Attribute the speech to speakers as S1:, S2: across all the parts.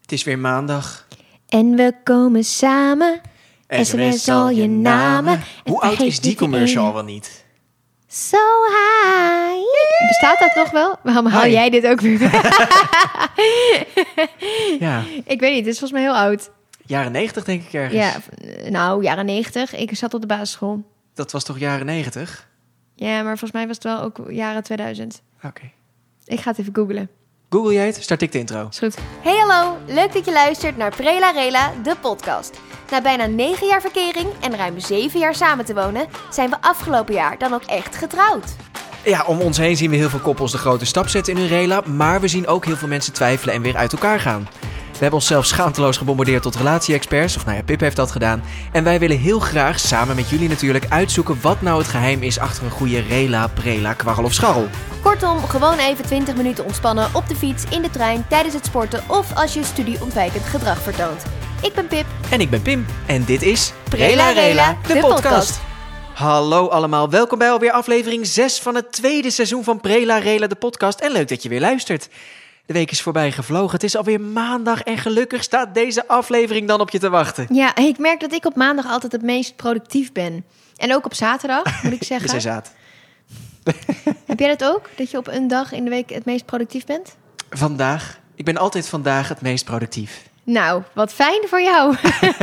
S1: Het is weer maandag.
S2: En we komen samen. SMS al je namen. En
S1: Hoe oud is
S2: vergeet
S1: die
S2: niet de
S1: commercial
S2: ene.
S1: wel niet?
S2: So high. Bestaat dat nog wel? Waarom hou
S1: Hi.
S2: jij dit ook weer?
S1: Ja,
S2: ik weet niet, dit is volgens mij heel oud.
S1: jaren 90 denk ik ergens.
S2: Ja, v- nou, jaren 90. Ik zat op de basisschool.
S1: Dat was toch jaren 90?
S2: Ja, maar volgens mij was het wel ook jaren 2000.
S1: Oké.
S2: Ik ga het even googlen.
S1: Google jij het? Start ik de intro.
S2: Is goed.
S3: Hey hallo, leuk dat je luistert naar Prela Rela, de podcast. Na bijna 9 jaar verkering en ruim 7 jaar samen te wonen, zijn we afgelopen jaar dan ook echt getrouwd.
S1: Ja, om ons heen zien we heel veel koppels de grote stap zetten in hun rela, maar we zien ook heel veel mensen twijfelen en weer uit elkaar gaan. We hebben onszelf schaamteloos gebombardeerd tot relatie-experts, of nou ja, Pip heeft dat gedaan. En wij willen heel graag, samen met jullie natuurlijk, uitzoeken wat nou het geheim is achter een goede rela, prela, kwarrel of scharrel.
S3: Kortom, gewoon even 20 minuten ontspannen op de fiets, in de trein, tijdens het sporten of als je studieontwijkend gedrag vertoont. Ik ben Pip.
S1: En ik ben Pim. En dit is
S3: Prela Rela, de podcast.
S1: Hallo allemaal, welkom bij alweer aflevering 6 van het tweede seizoen van Prela Rela, de podcast. En leuk dat je weer luistert. De week is voorbij gevlogen, het is alweer maandag en gelukkig staat deze aflevering dan op je te wachten.
S2: Ja, ik merk dat ik op maandag altijd het meest productief ben. En ook op zaterdag, moet ik
S1: Dus
S2: zeggen.
S1: hij zaad.
S2: Heb jij dat ook? Dat je op een dag in de week het meest productief bent?
S1: Vandaag, ik ben altijd vandaag het meest productief.
S2: Nou, wat fijn voor jou.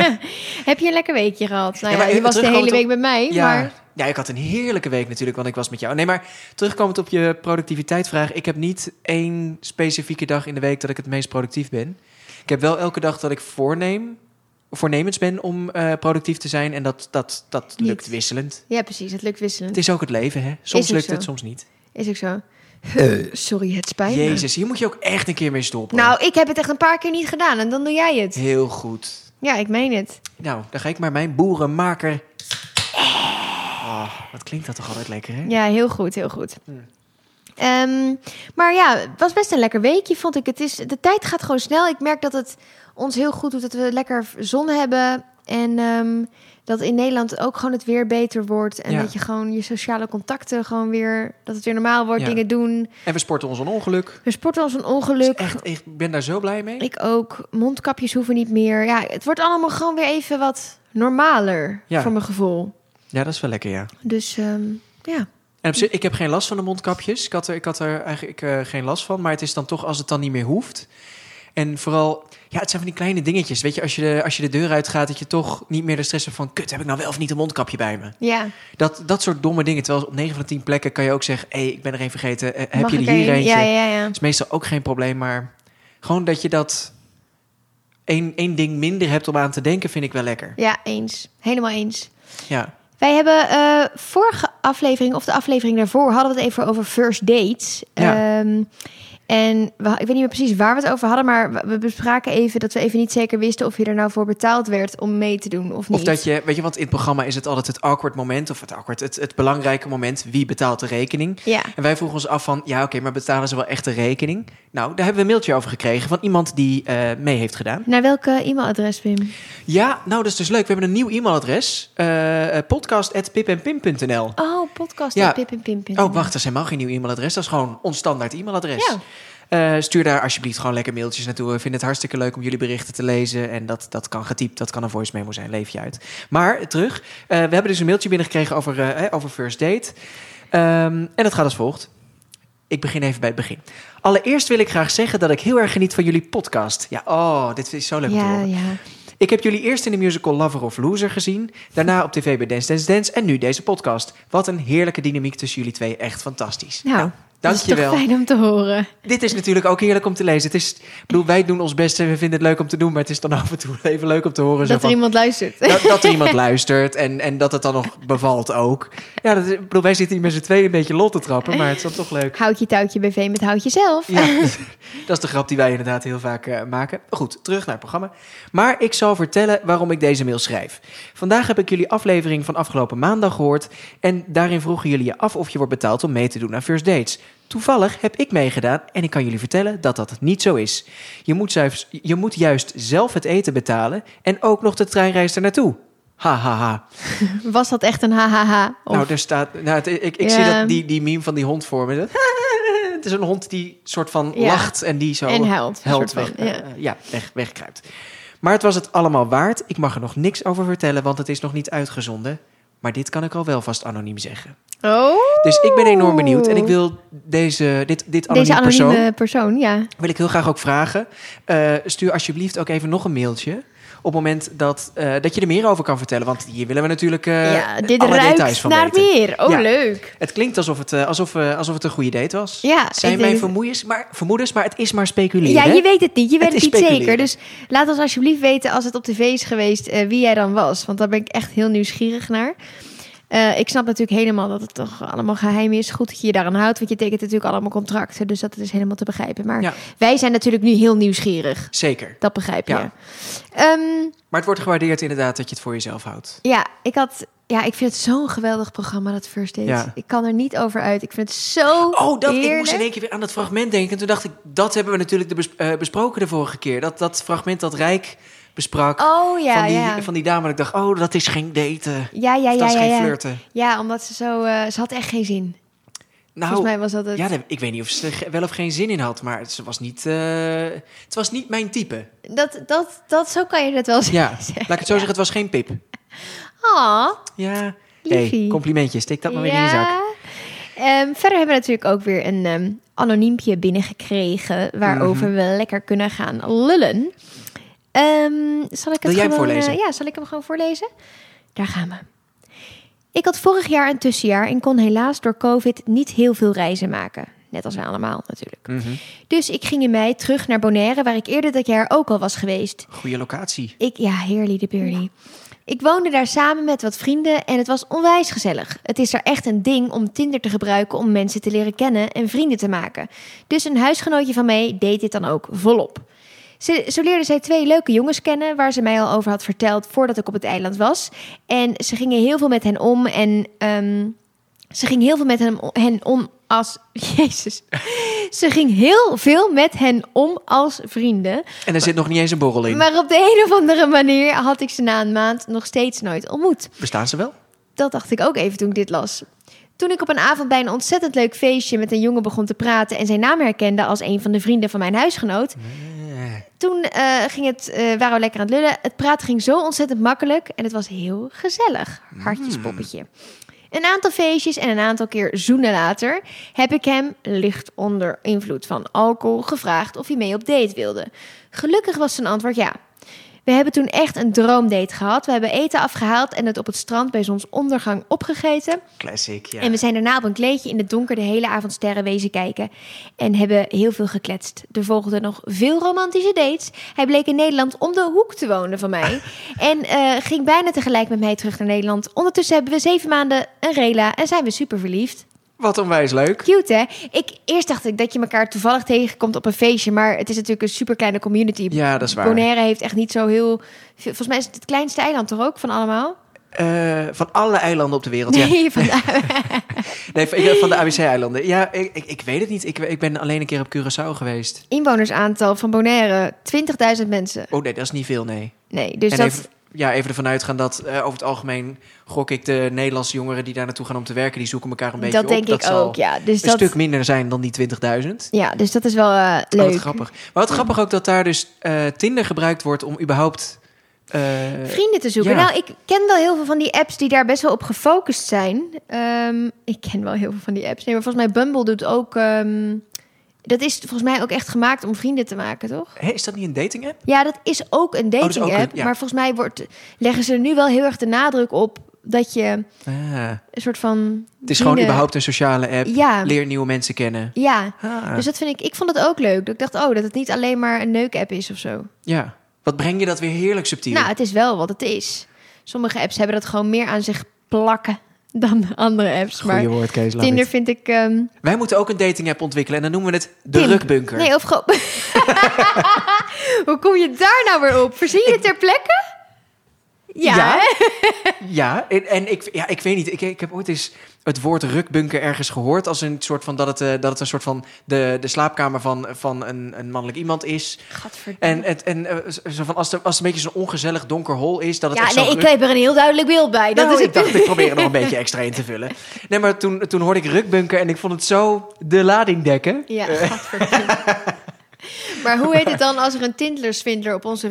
S2: Heb je een lekker weekje gehad? Nou
S1: Ja,
S2: ja,
S1: maar
S2: je
S1: even
S2: was de
S1: terugkomend
S2: hele
S1: op-
S2: week bij mij, maar...
S1: ja, ik had een heerlijke week natuurlijk, want ik was met jou. Nee, maar terugkomend op je productiviteitvraag. Ik heb niet één specifieke dag in de week dat ik het meest productief ben. Ik heb wel elke dag dat ik voorneem, voornemens ben om eh, productief te zijn. En dat, dat, dat
S2: Niet.
S1: lukt wisselend.
S2: Ja, precies. Het lukt wisselend.
S1: Het is ook het leven, hè? Soms
S2: ook
S1: lukt
S2: zo.
S1: het, soms niet.
S2: Is ook zo. Sorry, het spijt me.
S1: Eh. Jezus, hier moet je ook echt een keer mee stoppen.
S2: Nou, ik heb het echt een paar keer niet gedaan en dan doe jij het.
S1: Heel goed.
S2: Ja, ik meen het.
S1: Nou, dan ga ik maar mijn boerenmaker... Oh, wat klinkt dat toch altijd lekker, hè?
S2: Eh. Ja, heel goed, heel goed.
S1: Hmm.
S2: Ehm, maar ja, het was best een lekker weekje, vond ik. Het is, de tijd gaat gewoon snel. Ik merk dat het ons heel goed doet dat we lekker zon hebben. En ehm, dat in Nederland ook gewoon het weer beter wordt. En
S1: Ja.
S2: dat je gewoon je sociale contacten gewoon weer... Dat het weer normaal wordt,
S1: Ja.
S2: dingen doen.
S1: En we sporten ons een ongeluk.
S2: We sporten als een
S1: Dus
S2: ongeluk.
S1: echt, ik ben daar zo blij mee.
S2: Ik ook. Mondkapjes hoeven niet meer. Ja, het wordt allemaal gewoon weer even wat normaler
S1: Ja.
S2: voor mijn gevoel.
S1: Ja, dat is wel lekker, ja.
S2: Dus ehm, ja.
S1: En op zich, ik heb geen last van de mondkapjes. Ik had er, ik had er eigenlijk eh, geen last van. Maar het is dan toch als het dan niet meer hoeft. En vooral, ja, het zijn van die kleine dingetjes. Weet je, als je de, als je de deur uitgaat, dat je toch niet meer de stress hebt van... Kut, heb ik nou wel of niet een mondkapje bij me?
S2: Ja.
S1: Dat, dat soort domme dingen. Terwijl op 9 van de 10 plekken kan je ook zeggen... Hé, hey, ik ben er één vergeten. Eh, heb
S2: Mag
S1: je
S2: ik
S1: er
S2: er
S1: hier
S2: een?
S1: eentje?
S2: Ja, ja, ja.
S1: Dat is meestal ook geen probleem. Maar gewoon dat je dat... één één ding minder hebt om aan te denken, vind ik wel lekker.
S2: Ja, eens. Helemaal eens.
S1: Ja.
S2: Wij hebben eh, vorige aflevering, of de aflevering daarvoor, hadden we het even over first dates.
S1: Ja.
S2: Ehm, en we- ik weet niet meer precies waar we het over hadden, maar we- we bespraken even dat we even niet zeker wisten of je er nou voor betaald werd om mee te doen of niet.
S1: Of dat je, weet je, want in het programma is het altijd het awkward moment, of het awkward, het, het belangrijke moment, wie betaalt de rekening?
S2: Ja.
S1: En wij vroegen ons af van, ja oké, maar betalen ze wel echt de rekening? Nou, daar hebben we een mailtje over gekregen van iemand die eh, mee heeft gedaan.
S2: Naar welke e-mailadres, Wim?
S1: Ja, nou dat is dus leuk. We hebben een nieuw e-mailadres, eh eh, podcast.pipenpim.nl.
S2: Oh, podcast.
S1: Ja.
S2: Pip en Pim.
S1: Oh, wacht, dat is helemaal geen nieuw e-mailadres. Dat is gewoon ons standaard e-mailadres.
S2: Ja.
S1: Eh, stuur daar alsjeblieft gewoon lekker mailtjes naartoe. We vinden het hartstikke leuk om jullie berichten te lezen. En dat, dat kan getypt, dat kan een voice memo zijn, leef je uit. Maar terug, eh, we hebben dus een mailtje binnengekregen over, eh, hè, over First Date. Ehm, en dat gaat als volgt. Ik begin even bij het begin. Allereerst wil ik graag zeggen dat ik heel erg geniet van jullie podcast. Ja, oh, dit is zo leuk om te
S2: Ja,
S1: horen.
S2: ja.
S1: Ik heb jullie eerst in de musical Lover of Loser gezien, daarna op tv bij Dance Dance Dance en nu deze podcast. Wat een heerlijke dynamiek tussen jullie twee, echt fantastisch.
S2: Nou, dat is toch
S1: dankjewel.
S2: fijn om te horen.
S1: Dit is natuurlijk ook heerlijk om te lezen. Het is, ik bedoel, wij doen ons best en we vinden het leuk om te doen, maar het is dan af en toe even leuk om te horen. zo
S2: Dat er
S1: van,
S2: iemand luistert.
S1: dat, dat er iemand luistert en, en dat het dan nog bevalt ook. Ja, dat is, ik bedoel, wij zitten hier met z'n tweeën een beetje lot te trappen, maar het is dan toch leuk.
S2: Houtje touwtje BV met houtje zelf.
S1: Ja, dat is de grap die wij inderdaad heel vaak eh, maken. Goed, terug naar het programma. Maar ik zal vertellen waarom ik deze mail schrijf. Vandaag heb ik jullie aflevering van afgelopen maandag gehoord. En daarin vroegen jullie je af of je wordt betaald om mee te doen aan First Dates. Toevallig heb ik meegedaan en ik kan jullie vertellen dat dat niet zo is. Je moet, zuivs- je moet juist zelf het eten betalen en ook nog de treinreis ernaartoe. Ha ha ha.
S2: Was dat echt een hahaha? Of-
S1: Nou, daar staat. Nou, het- ik ik zie
S2: Ja.
S1: dat die, die meme van die hond voor me. Dat, het is een hond die soort van
S2: Ja.
S1: lacht en die zo
S2: En huilt, een
S1: huilt
S2: soort
S1: weg,
S2: van, ja.
S1: eh, ja, weg, wegkruipt. Maar het was het allemaal waard. Ik mag er nog niks over vertellen, want het is nog niet uitgezonden. Maar dit kan ik al wel vast anoniem zeggen.
S2: Oh.
S1: Dus ik ben enorm benieuwd en ik wil deze, dit, dit anoniem
S2: Deze anonieme
S1: persoon
S2: persoon, ja.
S1: wil ik heel graag ook vragen. eh, stuur alsjeblieft ook even nog een mailtje. Op het moment dat, eh, dat je er meer over kan vertellen. Want hier willen we natuurlijk eh
S2: ja dit
S1: alle
S2: ruikt
S1: details van
S2: naar
S1: weten.
S2: meer. Oh,
S1: Ja.
S2: leuk.
S1: Het klinkt alsof het, eh, alsof, eh, alsof het een goede date was.
S2: Ja,
S1: Zijn
S2: ik denk
S1: mijn
S2: het-
S1: vermoeiens, maar, vermoedens, maar het is maar speculeren.
S2: Ja,
S1: hè?
S2: je weet het niet. Je weet
S1: Het
S2: het,
S1: is
S2: niet zeker.
S1: speculeren.
S2: Dus laat ons alsjeblieft weten als het op tv is geweest eh, wie jij dan was. Want daar ben ik echt heel nieuwsgierig naar. Eh, ik snap natuurlijk helemaal dat het toch allemaal geheim is. Goed dat je je daaraan houdt, want je tekent natuurlijk allemaal contracten. Dus dat is helemaal te begrijpen. Maar
S1: Ja.
S2: wij zijn natuurlijk nu heel nieuwsgierig.
S1: Zeker.
S2: Dat begrijp je.
S1: Ja.
S2: Ehm,
S1: Maar het wordt gewaardeerd inderdaad dat je het voor jezelf houdt.
S2: Ja, ik had. Ja, ik vind het zo'n geweldig programma, dat First Date.
S1: Ja.
S2: Ik kan er niet over uit. Ik vind het zo
S1: Oh, dat, ik
S2: heerlijk.
S1: moest in één keer weer aan dat fragment denken. En toen dacht ik, dat hebben we natuurlijk de bes- eh, besproken de vorige keer. Dat, dat fragment dat Rijk besprak
S2: Oh ja,
S1: van, die,
S2: ja.
S1: van die dame. Dat ik dacht, oh, dat is geen daten.
S2: ja, ja,
S1: Of
S2: ja,
S1: dat is
S2: ja,
S1: geen
S2: ja.
S1: flirten.
S2: Ja, omdat ze zo... eh, ze had echt geen zin.
S1: Nou,
S2: Volgens mij was dat het.
S1: ja, dat- ik weet niet of ze er ge- wel of geen zin in had. Maar ze was niet, eh, het was niet mijn type.
S2: Dat, dat, dat, zo kan je dat wel
S1: Ja,
S2: zeggen.
S1: laat ik het zo zeggen. Het was geen pip.
S2: Ah,
S1: Ja.
S2: Liefie.
S1: Hey, complimentjes. Steek dat maar weer in je zak.
S2: Ehm, verder hebben we natuurlijk ook weer een ehm anoniempje binnengekregen... waarover
S1: Mhm.
S2: we lekker kunnen gaan lullen. Ehm, zal ik het
S1: Wil jij hem
S2: gewoon,
S1: voorlezen?
S2: eh, ja, zal ik hem gewoon voorlezen? Daar gaan we. Ik had vorig jaar een tussenjaar en kon helaas door COVID niet heel veel reizen maken. Net als wij allemaal natuurlijk.
S1: Mhm.
S2: Dus ik ging in mei terug naar Bonaire, waar ik eerder dat jaar ook al was geweest.
S1: Goeie locatie.
S2: Ik, ja, heerly de Beardy. Ik woonde daar samen met wat vrienden en het was onwijs gezellig. Het is daar echt een ding om Tinder te gebruiken om mensen te leren kennen en vrienden te maken. Dus een huisgenootje van mij deed dit dan ook volop. Ze, zo leerde zij twee leuke jongens kennen waar ze mij al over had verteld voordat ik op het eiland was. En ze gingen heel veel met hen om en ehm, ze ging heel veel met hen, hen om als... Jezus. Ze ging heel veel met hen om als vrienden.
S1: En er zit nog niet eens een borrel in.
S2: Maar op de een of andere manier had ik ze na een maand nog steeds nooit ontmoet.
S1: Bestaan ze wel?
S2: Dat dacht ik ook even toen ik dit las. Toen ik op een avond bij een ontzettend leuk feestje met een jongen begon te praten en zijn naam herkende als een van de vrienden van mijn huisgenoot, toen eh, ging het, eh, waren we lekker aan het lullen. Het praten ging zo ontzettend makkelijk en het was heel gezellig. Hartjespoppetje. Een aantal feestjes en een aantal keer zoenen later heb ik hem, licht onder invloed van alcohol, gevraagd of hij mee op date wilde. Gelukkig was zijn antwoord ja. We hebben toen echt een droomdate gehad. We hebben eten afgehaald en het op het strand bij zonsondergang opgegeten.
S1: Classic, ja.
S2: En we zijn daarna op een kleedje in het donker de hele avond sterren wezen kijken. En hebben heel veel gekletst. Er volgden nog veel romantische dates. Hij bleek in Nederland om de hoek te wonen van mij. en eh, ging bijna tegelijk met mij terug naar Nederland. Ondertussen hebben we zeven maanden een rela en zijn we super verliefd.
S1: Wat onwijs leuk.
S2: Cute hè? Ik, eerst dacht ik dat je elkaar toevallig tegenkomt op een feestje. Maar het is natuurlijk een super kleine community.
S1: Ja, dat is waar.
S2: Bonaire heeft echt niet zo heel... veel- Volgens mij is het het kleinste eiland toch ook van allemaal?
S1: Eh, van alle eilanden op de wereld. Ja.
S2: Nee, van,
S1: Nee, van, ik- van de ABC-eilanden. Ja, ik, ik, ik weet het niet. Ik, ik ben alleen een keer op Curaçao geweest.
S2: inwonersaantal van Bonaire, 20.000 mensen.
S1: Oh nee, dat is niet veel, nee.
S2: Nee, dus
S1: en
S2: dat...
S1: even, ja, even ervan uitgaan dat eh, over het algemeen gok ik de Nederlandse jongeren die daar naartoe gaan om te werken, die zoeken elkaar een beetje
S2: dat
S1: op.
S2: denk ik
S1: zal
S2: ook, ja. Dus
S1: een
S2: dat,
S1: stuk minder zijn dan die 20.000.
S2: ja, dus dat is wel eh,
S1: Oh,
S2: leuk.
S1: wat grappig. Maar wat grappig ook dat daar dus eh, Tinder gebruikt wordt om überhaupt... eh,
S2: Vrienden te zoeken.
S1: ja.
S2: Nou, ik ken wel heel veel van die apps die daar best wel op gefocust zijn. Ehm, ik ken wel heel veel van die apps. Nee, maar volgens mij Bumble doet ook... ehm, dat is volgens mij ook echt gemaakt om vrienden te maken, toch?
S1: Hé, is dat niet een dating app?
S2: Ja, dat is ook een
S1: Oh, dat is
S2: dating app.
S1: ook een- ja.
S2: Maar volgens mij wordt, leggen ze er nu wel heel erg de nadruk op dat je
S1: Ah,
S2: een soort van...
S1: het is gewoon
S2: vrienden-
S1: überhaupt een sociale app.
S2: Ja,
S1: Leer nieuwe mensen kennen.
S2: ja.
S1: Ah,
S2: Dus dat vind ik, ik vond het ook leuk. Dat ik dacht, oh, dat het niet alleen maar een neuk-app is of zo.
S1: ja. Wat breng je dat weer heerlijk subtiel?
S2: Nou, het is wel wat het is. Sommige apps hebben dat gewoon meer aan zich plakken dan andere apps. Maar
S1: woord, Kees. laat
S2: Tinder
S1: het.
S2: vind ik. ehm,
S1: Wij moeten ook een dating app ontwikkelen en dan noemen we het de
S2: Tim.
S1: Rukbunker.
S2: Nee, of gewoon. Hoe kom je daar nou weer op? Verzin je het ter plekke? Ja,
S1: Ja.
S2: hè?
S1: Ja, en, en ik, ja, ik weet niet. Ik, ik heb ooit eens het woord rukbunker ergens gehoord. Als een soort van dat het, eh, dat het een soort van de, de slaapkamer van, van een, een mannelijk iemand is. En,
S2: Gadverdamme.
S1: het, en eh, zo- zo van als, het, als het een beetje zo'n ongezellig donker hol is. Dat het
S2: Ja,
S1: echt zo
S2: nee, ik
S1: ruk-
S2: heb er een heel duidelijk beeld bij. Dat
S1: Nou,
S2: is
S1: ik
S2: het
S1: dacht, ik probeer er nog een beetje extra in te vullen. Nee, maar toen, toen hoorde ik rukbunker en ik vond het zo de lading dekken.
S2: Ja, gadverdamme. Maar hoe heet het dan als er een Tindler-swindler op onze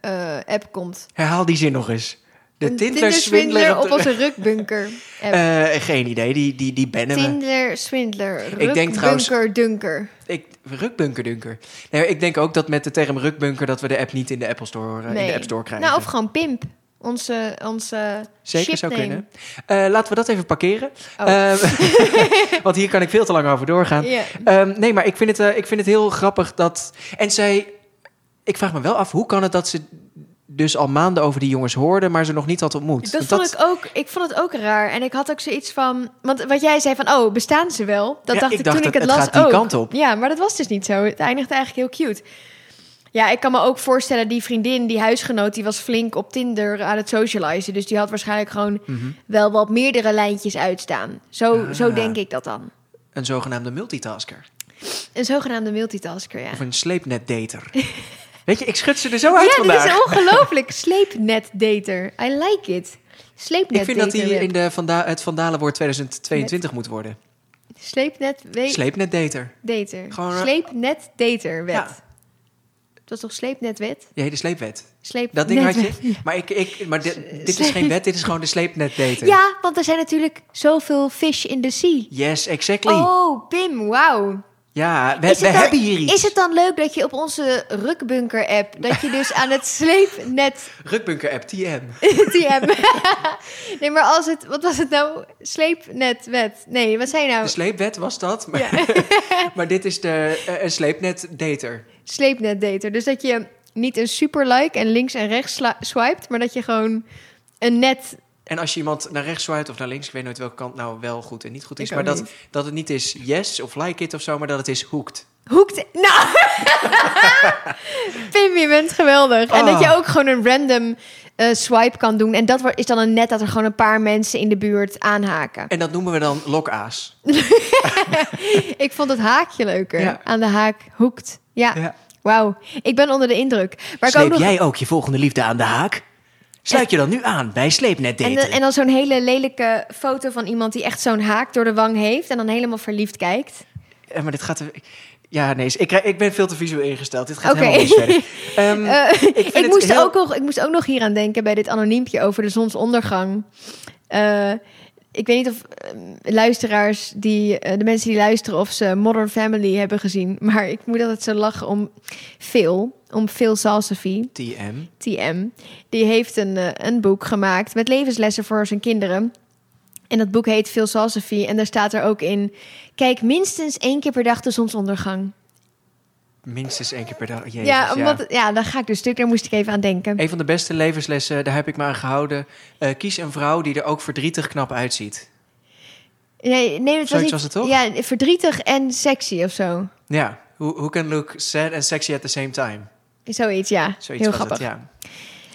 S2: rukbunker-app komt?
S1: Herhaal die zin nog eens. De
S2: een
S1: Tinder-swindler
S2: Tinder-swindler op
S1: de-
S2: onze rukbunker-app.
S1: Eh, geen idee, die, die, die bannen we.
S2: Tinder-swindler,
S1: Ik denk trouwens-
S2: rukbunker-dunker.
S1: Ik, rukbunkerdunker. Nee, ik denk ook dat met de term rukbunker dat we de app niet in de, Apple Store, eh, in de App Store krijgen.
S2: Nou, of gewoon Pimp. Onze, onze
S1: Zeker zou
S2: shipname.
S1: kunnen. Eh, laten we dat even parkeren.
S2: Oh.
S1: Ehm, want hier kan ik veel te lang over doorgaan.
S2: Ja.
S1: Ehm, nee, maar ik vind, het, eh, ik vind het heel grappig dat... En zij... Ik vraag me wel af, hoe kan het dat ze dus al maanden over die jongens hoorden... maar ze nog niet had ontmoet?
S2: Dat
S1: Want
S2: vond ik ook. Ik vond het ook raar. En ik had ook zoiets van. Want wat jij zei van, oh, bestaan ze wel? Dat
S1: Ja,
S2: dacht
S1: ik
S2: ik,
S1: dacht
S2: toen
S1: het-
S2: ik het,
S1: het
S2: las
S1: gaat die
S2: ook.
S1: kant op.
S2: Ja, maar dat was dus niet zo. Het eindigde eigenlijk heel cute. Ja, ik kan me ook voorstellen, die vriendin, die huisgenoot, die was flink op Tinder aan het socializen. Dus die had waarschijnlijk gewoon
S1: Mhm.
S2: wel wat meerdere lijntjes uitstaan. Zo,
S1: Ah.
S2: zo denk ik dat dan.
S1: Een zogenaamde multitasker.
S2: Een zogenaamde multitasker, ja.
S1: Of een sleepnetdater. Weet je, ik schud ze er zo uit
S2: Ja, dit
S1: vandaag.
S2: is ongelooflijk. Sleepnetdater. I like it. Sleepnetdater.
S1: ik vind dat die
S2: Web.
S1: in de vanda het Vandalenwoord 2022 moet worden.
S2: Sleepnet... we-
S1: Sleepnetdater.
S2: Dater.
S1: Gewoon, eh,
S2: Sleepnetdaterwet.
S1: Ja.
S2: Dat is toch sleepnetwet?
S1: Ja, de sleepwet.
S2: Sleep
S1: Dat ding
S2: net-
S1: had je. Maar, ik, ik, maar dit, dit is geen wet, dit is gewoon de sleepnetdater.
S2: Ja, want er zijn natuurlijk zoveel fish in the sea.
S1: Yes, exactly.
S2: Oh, Pim, wauw.
S1: Ja, we,
S2: Is
S1: we
S2: het dan-
S1: hebben hier iets.
S2: Is het dan leuk dat je op onze Rukbunker-app... dat je dus aan het sleepnet...
S1: Rukbunker app, TM.
S2: TM. nee, maar als het... Wat was het nou? Sleepnetwet. Nee, wat zei je
S1: De
S2: nou?
S1: sleepwet was dat. Maar, maar dit is de, eh, een sleepnetdater.
S2: Sleepnetdater. Dus dat je niet een super-like en links en rechts sla- swipet... maar dat je gewoon een net
S1: En als je iemand naar rechts zwaait of naar links, ik weet nooit welke kant nou wel goed en niet goed is.
S2: Ik
S1: Maar
S2: ook
S1: dat, dat het niet is yes of like it of zo, maar dat het is hooked.
S2: Hoekt. Nou! Pim, je bent geweldig. En dat je
S1: Ah.
S2: ook gewoon een random eh, swipe kan doen. En dat wordt- is dan een net dat er gewoon een paar mensen in de buurt aanhaken.
S1: En dat noemen we dan lokaas.
S2: Ik vond het haakje leuker.
S1: Ja.
S2: Aan de haak hoekt. Ja.
S1: Ja.
S2: Wauw. Ik ben onder de indruk. Maar ik ook
S1: Sleep
S2: nog...
S1: jij ook je volgende liefde aan de haak? Sluit je dan nu aan bij
S2: en,
S1: sleepnetdater.
S2: de- en dan zo'n hele lelijke foto van iemand die echt zo'n haak door de wang heeft. En dan helemaal verliefd kijkt.
S1: Eh, maar dit gaat... er- Ja, nee, ik, krijg- ik ben veel te visueel ingesteld. Dit gaat
S2: Oké.
S1: helemaal niet verder. Ehm,
S2: Eh,
S1: vind
S2: ik,
S1: het
S2: moest
S1: heel-
S2: ook nog, ik moest ook nog hieraan denken bij dit anoniempje over de zonsondergang. Eh, ik weet niet of ehm, luisteraars, die, eh, de mensen die luisteren, of ze Modern Family hebben gezien. Maar ik moet altijd zo lachen om Phil, om Phil Salsafie,
S1: TM.
S2: TM. Die heeft een, eh, een boek gemaakt met levenslessen voor zijn kinderen. En dat boek heet Phil Salsafie. En daar staat er ook in, kijk minstens één keer per dag de zonsondergang.
S1: Minstens één keer per dag. Jezus,
S2: ja,
S1: ja,
S2: omdat, ja, daar ga ik dus stuk, daar moest ik even aan denken.
S1: Een van de beste levenslessen, daar heb ik me aan gehouden. Eh, kies een vrouw die er ook verdrietig knap uitziet.
S2: Nee, nee, dat was,
S1: Zoiets
S2: niet,
S1: was het toch?
S2: Ja, verdrietig en sexy of zo.
S1: Ja, who, who can look sad and sexy at the same time?
S2: Zoiets, ja.
S1: Zoiets
S2: Heel
S1: was
S2: grappig.
S1: het, ja.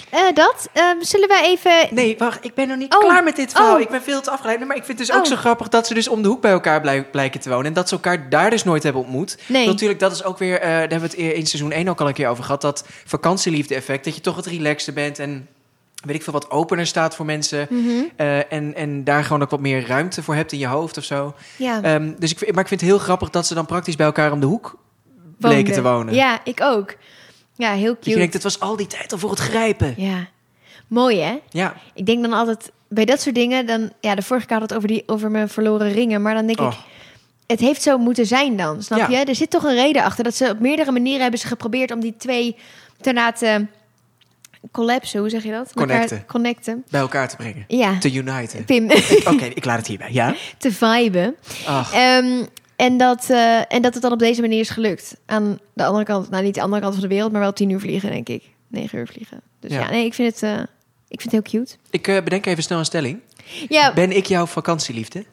S2: Eh, dat, ehm, zullen wij even...
S1: Nee, wacht, ik ben nog niet
S2: Oh,
S1: klaar met dit verhaal.
S2: oh.
S1: Ik ben veel te afgeleid. Nee, Maar ik vind het dus ook
S2: Oh.
S1: zo grappig dat ze dus om de hoek bij elkaar blij- blijken te wonen. En dat ze elkaar daar dus nooit hebben ontmoet.
S2: Nee.
S1: Natuurlijk, dat is ook weer, eh, daar hebben we het eer- in seizoen 1 ook al een keer over gehad. Dat vakantieliefde effect, dat je toch het relaxter bent en weet ik veel wat opener staat voor mensen.
S2: Mhm.
S1: Eh, en, en daar gewoon ook wat meer ruimte voor hebt in je hoofd of zo.
S2: Ja,
S1: Ehm, dus ik, vind- maar ik vind het heel grappig dat ze dan praktisch bij elkaar om de hoek bleken
S2: woonde.
S1: te wonen.
S2: Ja, ik ook. Ja, heel
S1: Dat je denkt,
S2: cute.
S1: het was al die tijd al voor het grijpen.
S2: Ja. Mooi, hè?
S1: Ja,
S2: Ik denk dan altijd... Bij dat soort dingen, dan... Ja, de vorige keer had het over, die, over mijn verloren ringen. Maar dan denk ik,
S1: Oh,
S2: het heeft zo moeten zijn dan, snap
S1: Ja.
S2: je? Er zit toch een reden achter dat ze op meerdere manieren hebben ze geprobeerd... om die twee te laten collapsen, hoe zeg je dat? Met elkaar
S1: Connecten.
S2: Connecten.
S1: bij elkaar te brengen.
S2: Ja,
S1: Te uniten.
S2: Pim,
S1: Oké, ik laat het hierbij. Ja?
S2: te viben.
S1: Ach,
S2: Ehm, en, dat, eh, en dat het dan op deze manier is gelukt. Aan de andere kant, nou niet de andere kant van de wereld, maar wel tien uur vliegen, denk ik. Negen uur vliegen. Dus ja,
S1: Ja.
S2: nee, ik vind, het, eh, ik vind het heel cute.
S1: ik eh, bedenk even snel een stelling.
S2: Ja,
S1: Ben ik jouw vakantieliefde?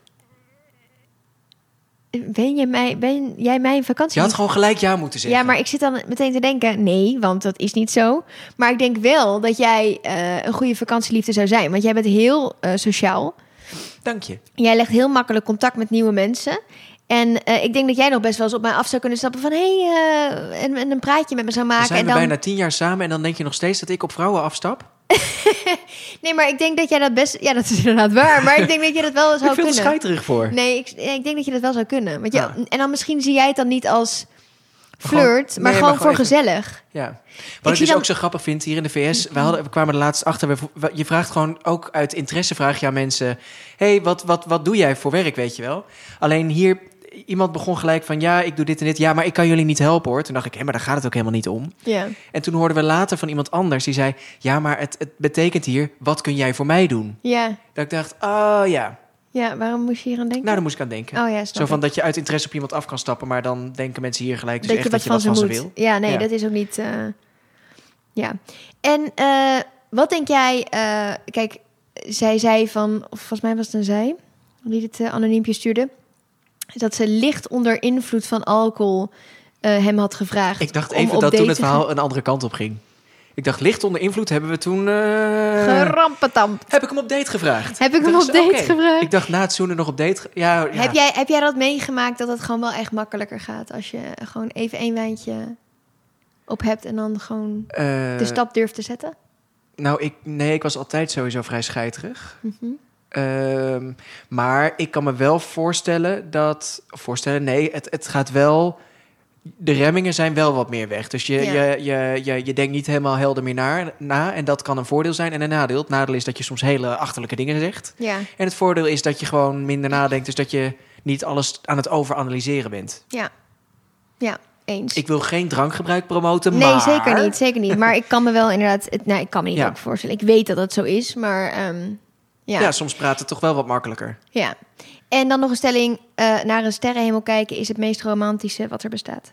S2: Ben, je mij, ben jij mijn vakantie?
S1: Je had gewoon gelijk ja moeten zeggen.
S2: Ja, maar ik zit dan meteen te denken, nee, want dat is niet zo. Maar ik denk wel dat jij eh, een goede vakantieliefde zou zijn. Want jij bent heel eh, sociaal.
S1: Dank je.
S2: Jij legt heel makkelijk contact met nieuwe mensen. En eh, ik denk dat jij nog best wel eens op mij af zou kunnen stappen van... hé, hey, eh, en, en een praatje met me zou
S1: We
S2: maken.
S1: zijn
S2: en
S1: we
S2: dan...
S1: bijna tien jaar samen en dan denk je nog steeds dat ik op vrouwen afstap?
S2: Nee, maar ik denk dat jij dat best... Ja, dat is inderdaad waar. Maar ik denk dat je dat wel zou
S1: ik vind
S2: kunnen.
S1: er scheiterig voor.
S2: Nee, ik, ik denk dat je dat wel zou kunnen. Want je,
S1: Ja.
S2: En dan misschien zie jij het dan niet als
S1: Gewoon-
S2: flirt,
S1: nee,
S2: maar
S1: maar
S2: gewoon
S1: gewoon
S2: voor
S1: even-
S2: gezellig.
S1: Ja. Wat
S2: zie
S1: ik dus
S2: dan-
S1: ook zo grappig vind hier in de VS, we, hadden, we kwamen er laatst achter, we, we- je vraagt gewoon ook uit interesse, vraag je aan mensen, hey, wat, wat, wat doe jij voor werk, weet je wel? Alleen hier, iemand begon gelijk van, ja, ik doe dit en dit, ja, maar ik kan jullie niet helpen hoor. Toen dacht ik, hé, maar daar gaat het ook helemaal niet om.
S2: Ja.
S1: En toen hoorden we later van iemand anders, die zei, ja, maar het, het betekent hier, wat kun jij voor mij doen?
S2: Ja.
S1: Dat ik dacht, oh ja,
S2: Ja, waarom moest je hier aan denken?
S1: nou, daar moest ik aan denken.
S2: oh ja, snap
S1: Zo van
S2: ik.
S1: dat je uit interesse op iemand af kan stappen, maar dan denken mensen hier gelijk dus
S2: dat
S1: echt
S2: je wat van
S1: dat je
S2: ze
S1: wat
S2: moet.
S1: van ze wil.
S2: Ja, nee,
S1: Ja.
S2: dat is ook niet... eh, Ja. En eh, wat denk jij... eh, kijk, zij zei van... Of volgens mij was het een zij die dit eh, anoniempje stuurde. Dat ze licht onder invloed van alcohol eh, hem had gevraagd.
S1: Ik dacht
S2: om
S1: even
S2: op
S1: dat toen
S2: date
S1: het
S2: te gaan.
S1: verhaal een andere kant op ging. Ik dacht, licht onder invloed hebben we toen... eh,
S2: Gerampetampt.
S1: heb ik hem op date gevraagd?
S2: Heb ik hem
S1: Dacht
S2: op
S1: ze,
S2: date
S1: oké.
S2: gevraagd?
S1: Ik dacht, na het zoenen nog op date... ge- Ja, ja.
S2: Heb, jij, heb jij dat meegemaakt dat het gewoon wel echt makkelijker gaat als je gewoon even één wijntje op hebt en dan gewoon
S1: Eh,
S2: de stap durft te zetten?
S1: Nou, ik, nee, ik was altijd sowieso vrij scheiterig.
S2: Mhm.
S1: Ehm, maar ik kan me wel voorstellen dat... Voorstellen, nee, het, het gaat wel... De remmingen zijn wel wat meer weg. Dus je,
S2: Ja.
S1: je, je, je, je denkt niet helemaal helder meer na, na. En dat kan een voordeel zijn en een nadeel. Het nadeel is dat je soms hele achterlijke dingen zegt.
S2: Ja,
S1: En het voordeel is dat je gewoon minder nadenkt. Dus dat je niet alles aan het overanalyseren bent.
S2: eens.
S1: Ik wil geen drankgebruik promoten,
S2: nee,
S1: maar...
S2: zeker niet, zeker niet. Maar ik kan me wel inderdaad, het, nou, ik kan me niet
S1: Ja.
S2: ook voorstellen. Ik weet dat dat zo is, maar ehm, ja.
S1: Ja. soms praat het toch wel wat makkelijker.
S2: ja. En dan nog een stelling: eh, naar een sterrenhemel kijken is het meest romantische wat er bestaat.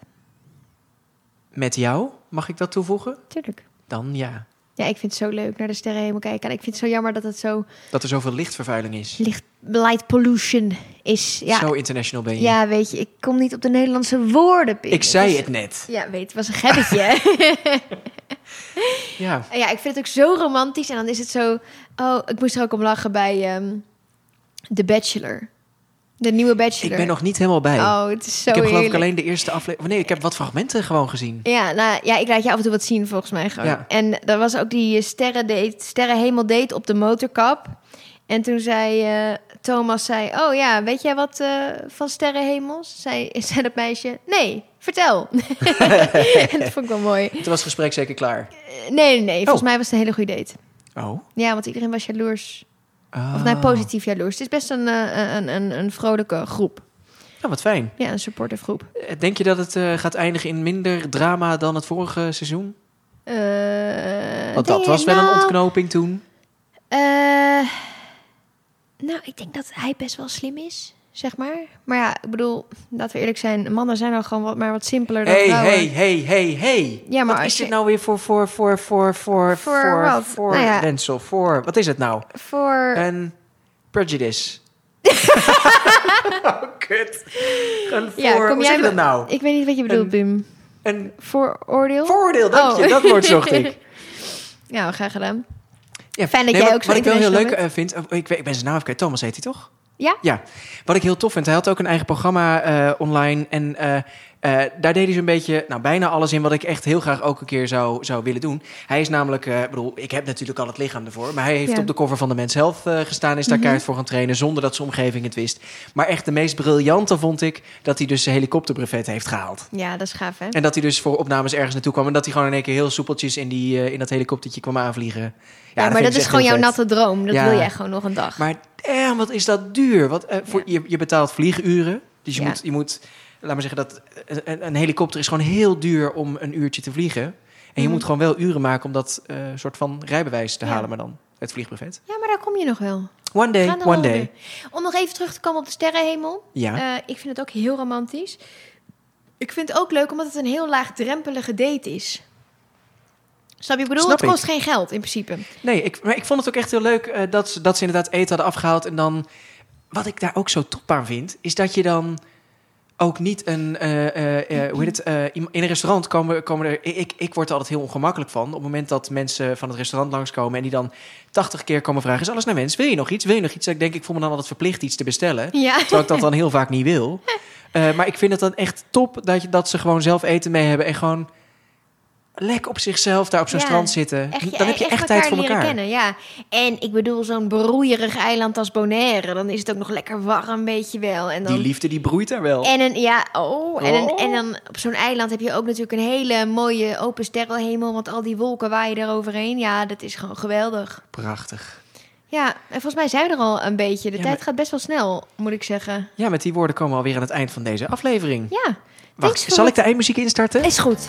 S1: Met jou, mag ik dat toevoegen?
S2: Tuurlijk.
S1: Dan ja.
S2: Ja, ik vind het zo leuk naar de sterrenhemel kijken. En ik vind het zo jammer dat het zo
S1: Dat er zoveel lichtvervuiling is.
S2: licht light pollution is. Ja,
S1: Zo international ben je.
S2: Ja, weet je, ik kom niet op de Nederlandse woorden. Pim.
S1: ik zei
S2: was-
S1: het net.
S2: Ja, weet, het was een gebbetje. hè?
S1: Ja.
S2: ja, ik vind het ook zo romantisch. En dan is het zo... Oh, ik moest er ook om lachen bij ehm The Bachelor. De nieuwe Bachelor.
S1: Ik ben nog niet helemaal bij.
S2: Oh, het is zo
S1: ik heb geloof ik
S2: heerlijk.
S1: alleen de eerste aflevering... Nee, ik heb wat fragmenten gewoon gezien.
S2: Ja, nou, ja, ik laat je af en toe wat zien volgens mij gewoon.
S1: Ja.
S2: En er was ook die eh, sterrendate, sterrenhemel date op de motorkap. En toen zei eh, Thomas, zei, oh ja, weet jij wat eh, van sterrenhemels? Zei, zei dat meisje, nee, vertel. en dat vond ik wel mooi.
S1: Toen was het gesprek zeker klaar.
S2: Eh, Nee, nee, nee, volgens
S1: Oh.
S2: mij was het een hele goede date.
S1: Oh.
S2: Ja, want iedereen was jaloers. Of
S1: Ah.
S2: nou, positief jaloers. Het is best een, eh, een, een, een vrolijke groep.
S1: Nou, wat fijn.
S2: Ja, een supportive groep.
S1: Eh, Denk je dat het eh, gaat eindigen in minder drama dan het vorige seizoen?
S2: Eh,
S1: Want
S2: denk
S1: dat
S2: ik,
S1: was wel een
S2: nou,
S1: ontknoping toen.
S2: Eh, nou, ik denk dat hij best wel slim is, zeg maar. Maar ja, ik bedoel, laten we eerlijk zijn, mannen zijn al gewoon wat, maar wat simpeler dan
S1: Hey,
S2: vrouwen.
S1: hey, hey, hey, hey.
S2: nou, eh, Ja, maar
S1: wat
S2: als
S1: is
S2: je-
S1: dit nou weer voor, voor, voor, voor, voor,
S2: Voor wat?
S1: voor
S2: Nou ja.
S1: Rensel, voor, wat is het nou?
S2: Voor,
S1: Een prejudice. oh, kut. Een voor,
S2: Ja, kom
S1: hoe
S2: jij
S1: zeg je dat
S2: met-
S1: nou?
S2: ik weet niet wat je bedoelt,
S1: Een-
S2: Bim.
S1: Een
S2: Vooroordeel?
S1: voordeel, dank
S2: Oh.
S1: je. Dat woord zocht ik.
S2: Ja, graag gedaan.
S1: Ja.
S2: Fijn dat
S1: Nee,
S2: jij
S1: wat-
S2: ook zo
S1: Wat ik wel heel leuk
S2: international
S1: eh, vind, oh, ik, weet- ik ben zijn naam even kwijt. Thomas heet hij toch?
S2: Ja?
S1: Ja. Wat ik heel tof vind, hij had ook een eigen programma eh, online. En eh, eh, daar deed hij zo'n beetje, nou bijna alles in wat ik echt heel graag ook een keer zou, zou willen doen. Hij is namelijk, eh, ik bedoel, ik heb natuurlijk al het lichaam ervoor. Maar hij heeft
S2: Ja.
S1: op de cover van de Mens Health eh, gestaan. Is daar
S2: Mhm.
S1: keihard voor gaan trainen, zonder dat zijn omgeving het wist. Maar echt de meest briljante vond ik, dat hij dus zijn helikopterbrevet heeft gehaald.
S2: Ja, dat is gaaf, hè?
S1: En dat hij dus voor opnames ergens naartoe kwam. En dat hij gewoon in één keer heel soepeltjes in, die, eh, in dat helikoptertje kwam aanvliegen. Ja,
S2: Ja,
S1: vind
S2: maar
S1: ik
S2: dat
S1: dus
S2: is
S1: echt
S2: gewoon
S1: heel
S2: jouw
S1: vet.
S2: natte droom. Dat
S1: Ja.
S2: wil jij gewoon nog een dag.
S1: Maar damn, wat is dat duur? Wat, eh, voor, je, je betaalt vlieguren. Dus je,
S2: Ja.
S1: moet, je moet, laat maar zeggen dat eh, een, een helikopter is gewoon heel duur om een uurtje te vliegen. En je
S2: Mhm.
S1: moet gewoon wel uren maken om dat eh, soort van rijbewijs te
S2: Ja.
S1: halen, maar dan het vliegbuffet.
S2: Ja, maar daar kom je nog wel.
S1: One
S2: Ga
S1: day,
S2: dan
S1: one
S2: wel
S1: day.
S2: weer. Om nog even terug te komen op de sterrenhemel.
S1: Ja.
S2: Eh, ik vind het ook heel romantisch. Ik vind het ook leuk omdat het een heel laagdrempelige date is. Snap je? Ik bedoel,
S1: Snap
S2: het kost
S1: ik.
S2: geen geld in principe.
S1: Nee, ik, maar ik vond het ook echt heel leuk eh, dat, ze, dat ze inderdaad eten hadden afgehaald. En dan, wat ik daar ook zo top aan vind, is dat je dan... ook niet een. eh, eh, eh, hoe heet het? eh, iem- in een restaurant komen, komen er. Ik, ik word er altijd heel ongemakkelijk van. Op het moment dat mensen van het restaurant langskomen en die dan 80 keer komen vragen: Is alles naar wens? Wil je nog iets? Wil je nog iets? Dat Ik denk, ik voel me dan altijd verplicht iets te bestellen.
S2: Ja.
S1: Terwijl ik dat dan heel vaak niet wil. Eh, maar ik vind het dan echt top dat, je, dat ze gewoon zelf eten mee hebben en gewoon lek op zichzelf daar op zo'n
S2: Ja,
S1: strand zitten.
S2: Echt,
S1: dan heb je echt, tijd voor
S2: leren
S1: elkaar.
S2: kennen, ja. En ik bedoel, zo'n broeierig eiland als Bonaire, dan is het ook nog lekker warm, weet je wel. En dan,
S1: Die liefde die broeit daar wel.
S2: En een, ja, oh, en, een-
S1: Oh.
S2: en dan op zo'n eiland heb je ook natuurlijk een hele mooie open sterrenhemel, want al die wolken waaien er overheen. Ja, dat is gewoon geweldig.
S1: Prachtig.
S2: Ja, en volgens mij zijn we er al een beetje. De
S1: Ja,
S2: tijd
S1: maar-
S2: gaat best wel snel, moet ik zeggen.
S1: Ja, met die woorden komen we alweer aan het eind van deze aflevering.
S2: Ja,
S1: Wacht,
S2: voor
S1: zal
S2: het-
S1: ik de eindmuziek instarten?
S2: is goed.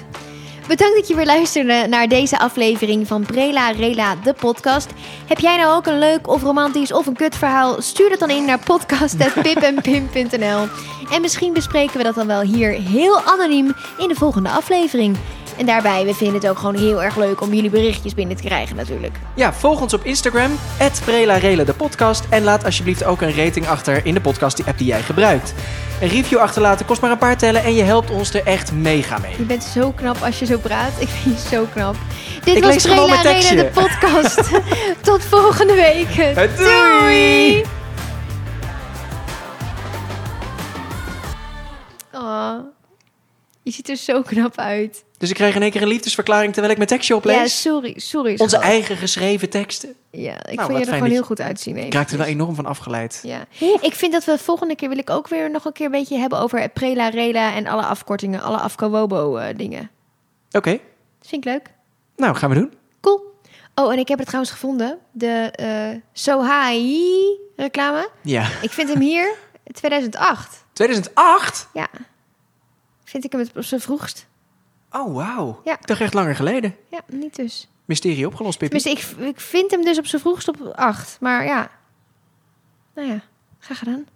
S2: Bedankt dat je weer luisterde naar deze aflevering van Brela Rela, de podcast. Heb jij nou ook een leuk of romantisch of een kut verhaal? Stuur dat dan in naar podcast.pipenpim.nl. En misschien bespreken we dat dan wel hier heel anoniem in de volgende aflevering. En daarbij, we vinden het ook gewoon heel erg leuk om jullie berichtjes binnen te krijgen natuurlijk.
S1: Ja, volg ons op Instagram, @prelarele de podcast. En laat alsjeblieft ook een rating achter in de podcast die app die jij gebruikt. Een review achterlaten kost maar een paar tellen en je helpt ons er echt mega mee.
S2: Je bent zo knap als je zo praat. Ik vind je zo knap. Dit
S1: Ik
S2: was
S1: lees gewoon
S2: Brela
S1: mijn
S2: Rela, de podcast. Tot volgende week.
S1: Doei!
S2: Oh, je ziet er zo knap uit.
S1: Dus ik krijg in één keer een liefdesverklaring terwijl ik mijn tekstje oplees.
S2: Ja, sorry, sorry.
S1: Onze
S2: schat.
S1: eigen geschreven teksten.
S2: Ja, ik
S1: wat
S2: vind je
S1: fijn
S2: er
S1: dat
S2: gewoon
S1: je-
S2: heel goed uitzien.
S1: Ik
S2: even.
S1: raakte er wel enorm van afgeleid.
S2: Ja. Ik vind dat we volgende keer wil ik ook weer nog een keer een beetje hebben over Prela, Rela en alle afkortingen, alle afkawobo eh, dingen.
S1: Oké,
S2: Dat vind ik leuk.
S1: nou gaan we doen.
S2: Cool. Oh, en ik heb het trouwens gevonden. De eh Sohai reclame.
S1: Ja.
S2: Ik vind hem hier 2008.
S1: 2008?
S2: Ja. Vind ik hem het op zijn vroegst.
S1: Oh, wauw.
S2: Ja.
S1: Ik dacht echt langer geleden.
S2: Ja, niet dus.
S1: Mysterie opgelost, Pippi.
S2: Tenminste, ik, ik vind hem dus op zijn vroegst op 8. Maar ja. Nou ja, graag gedaan.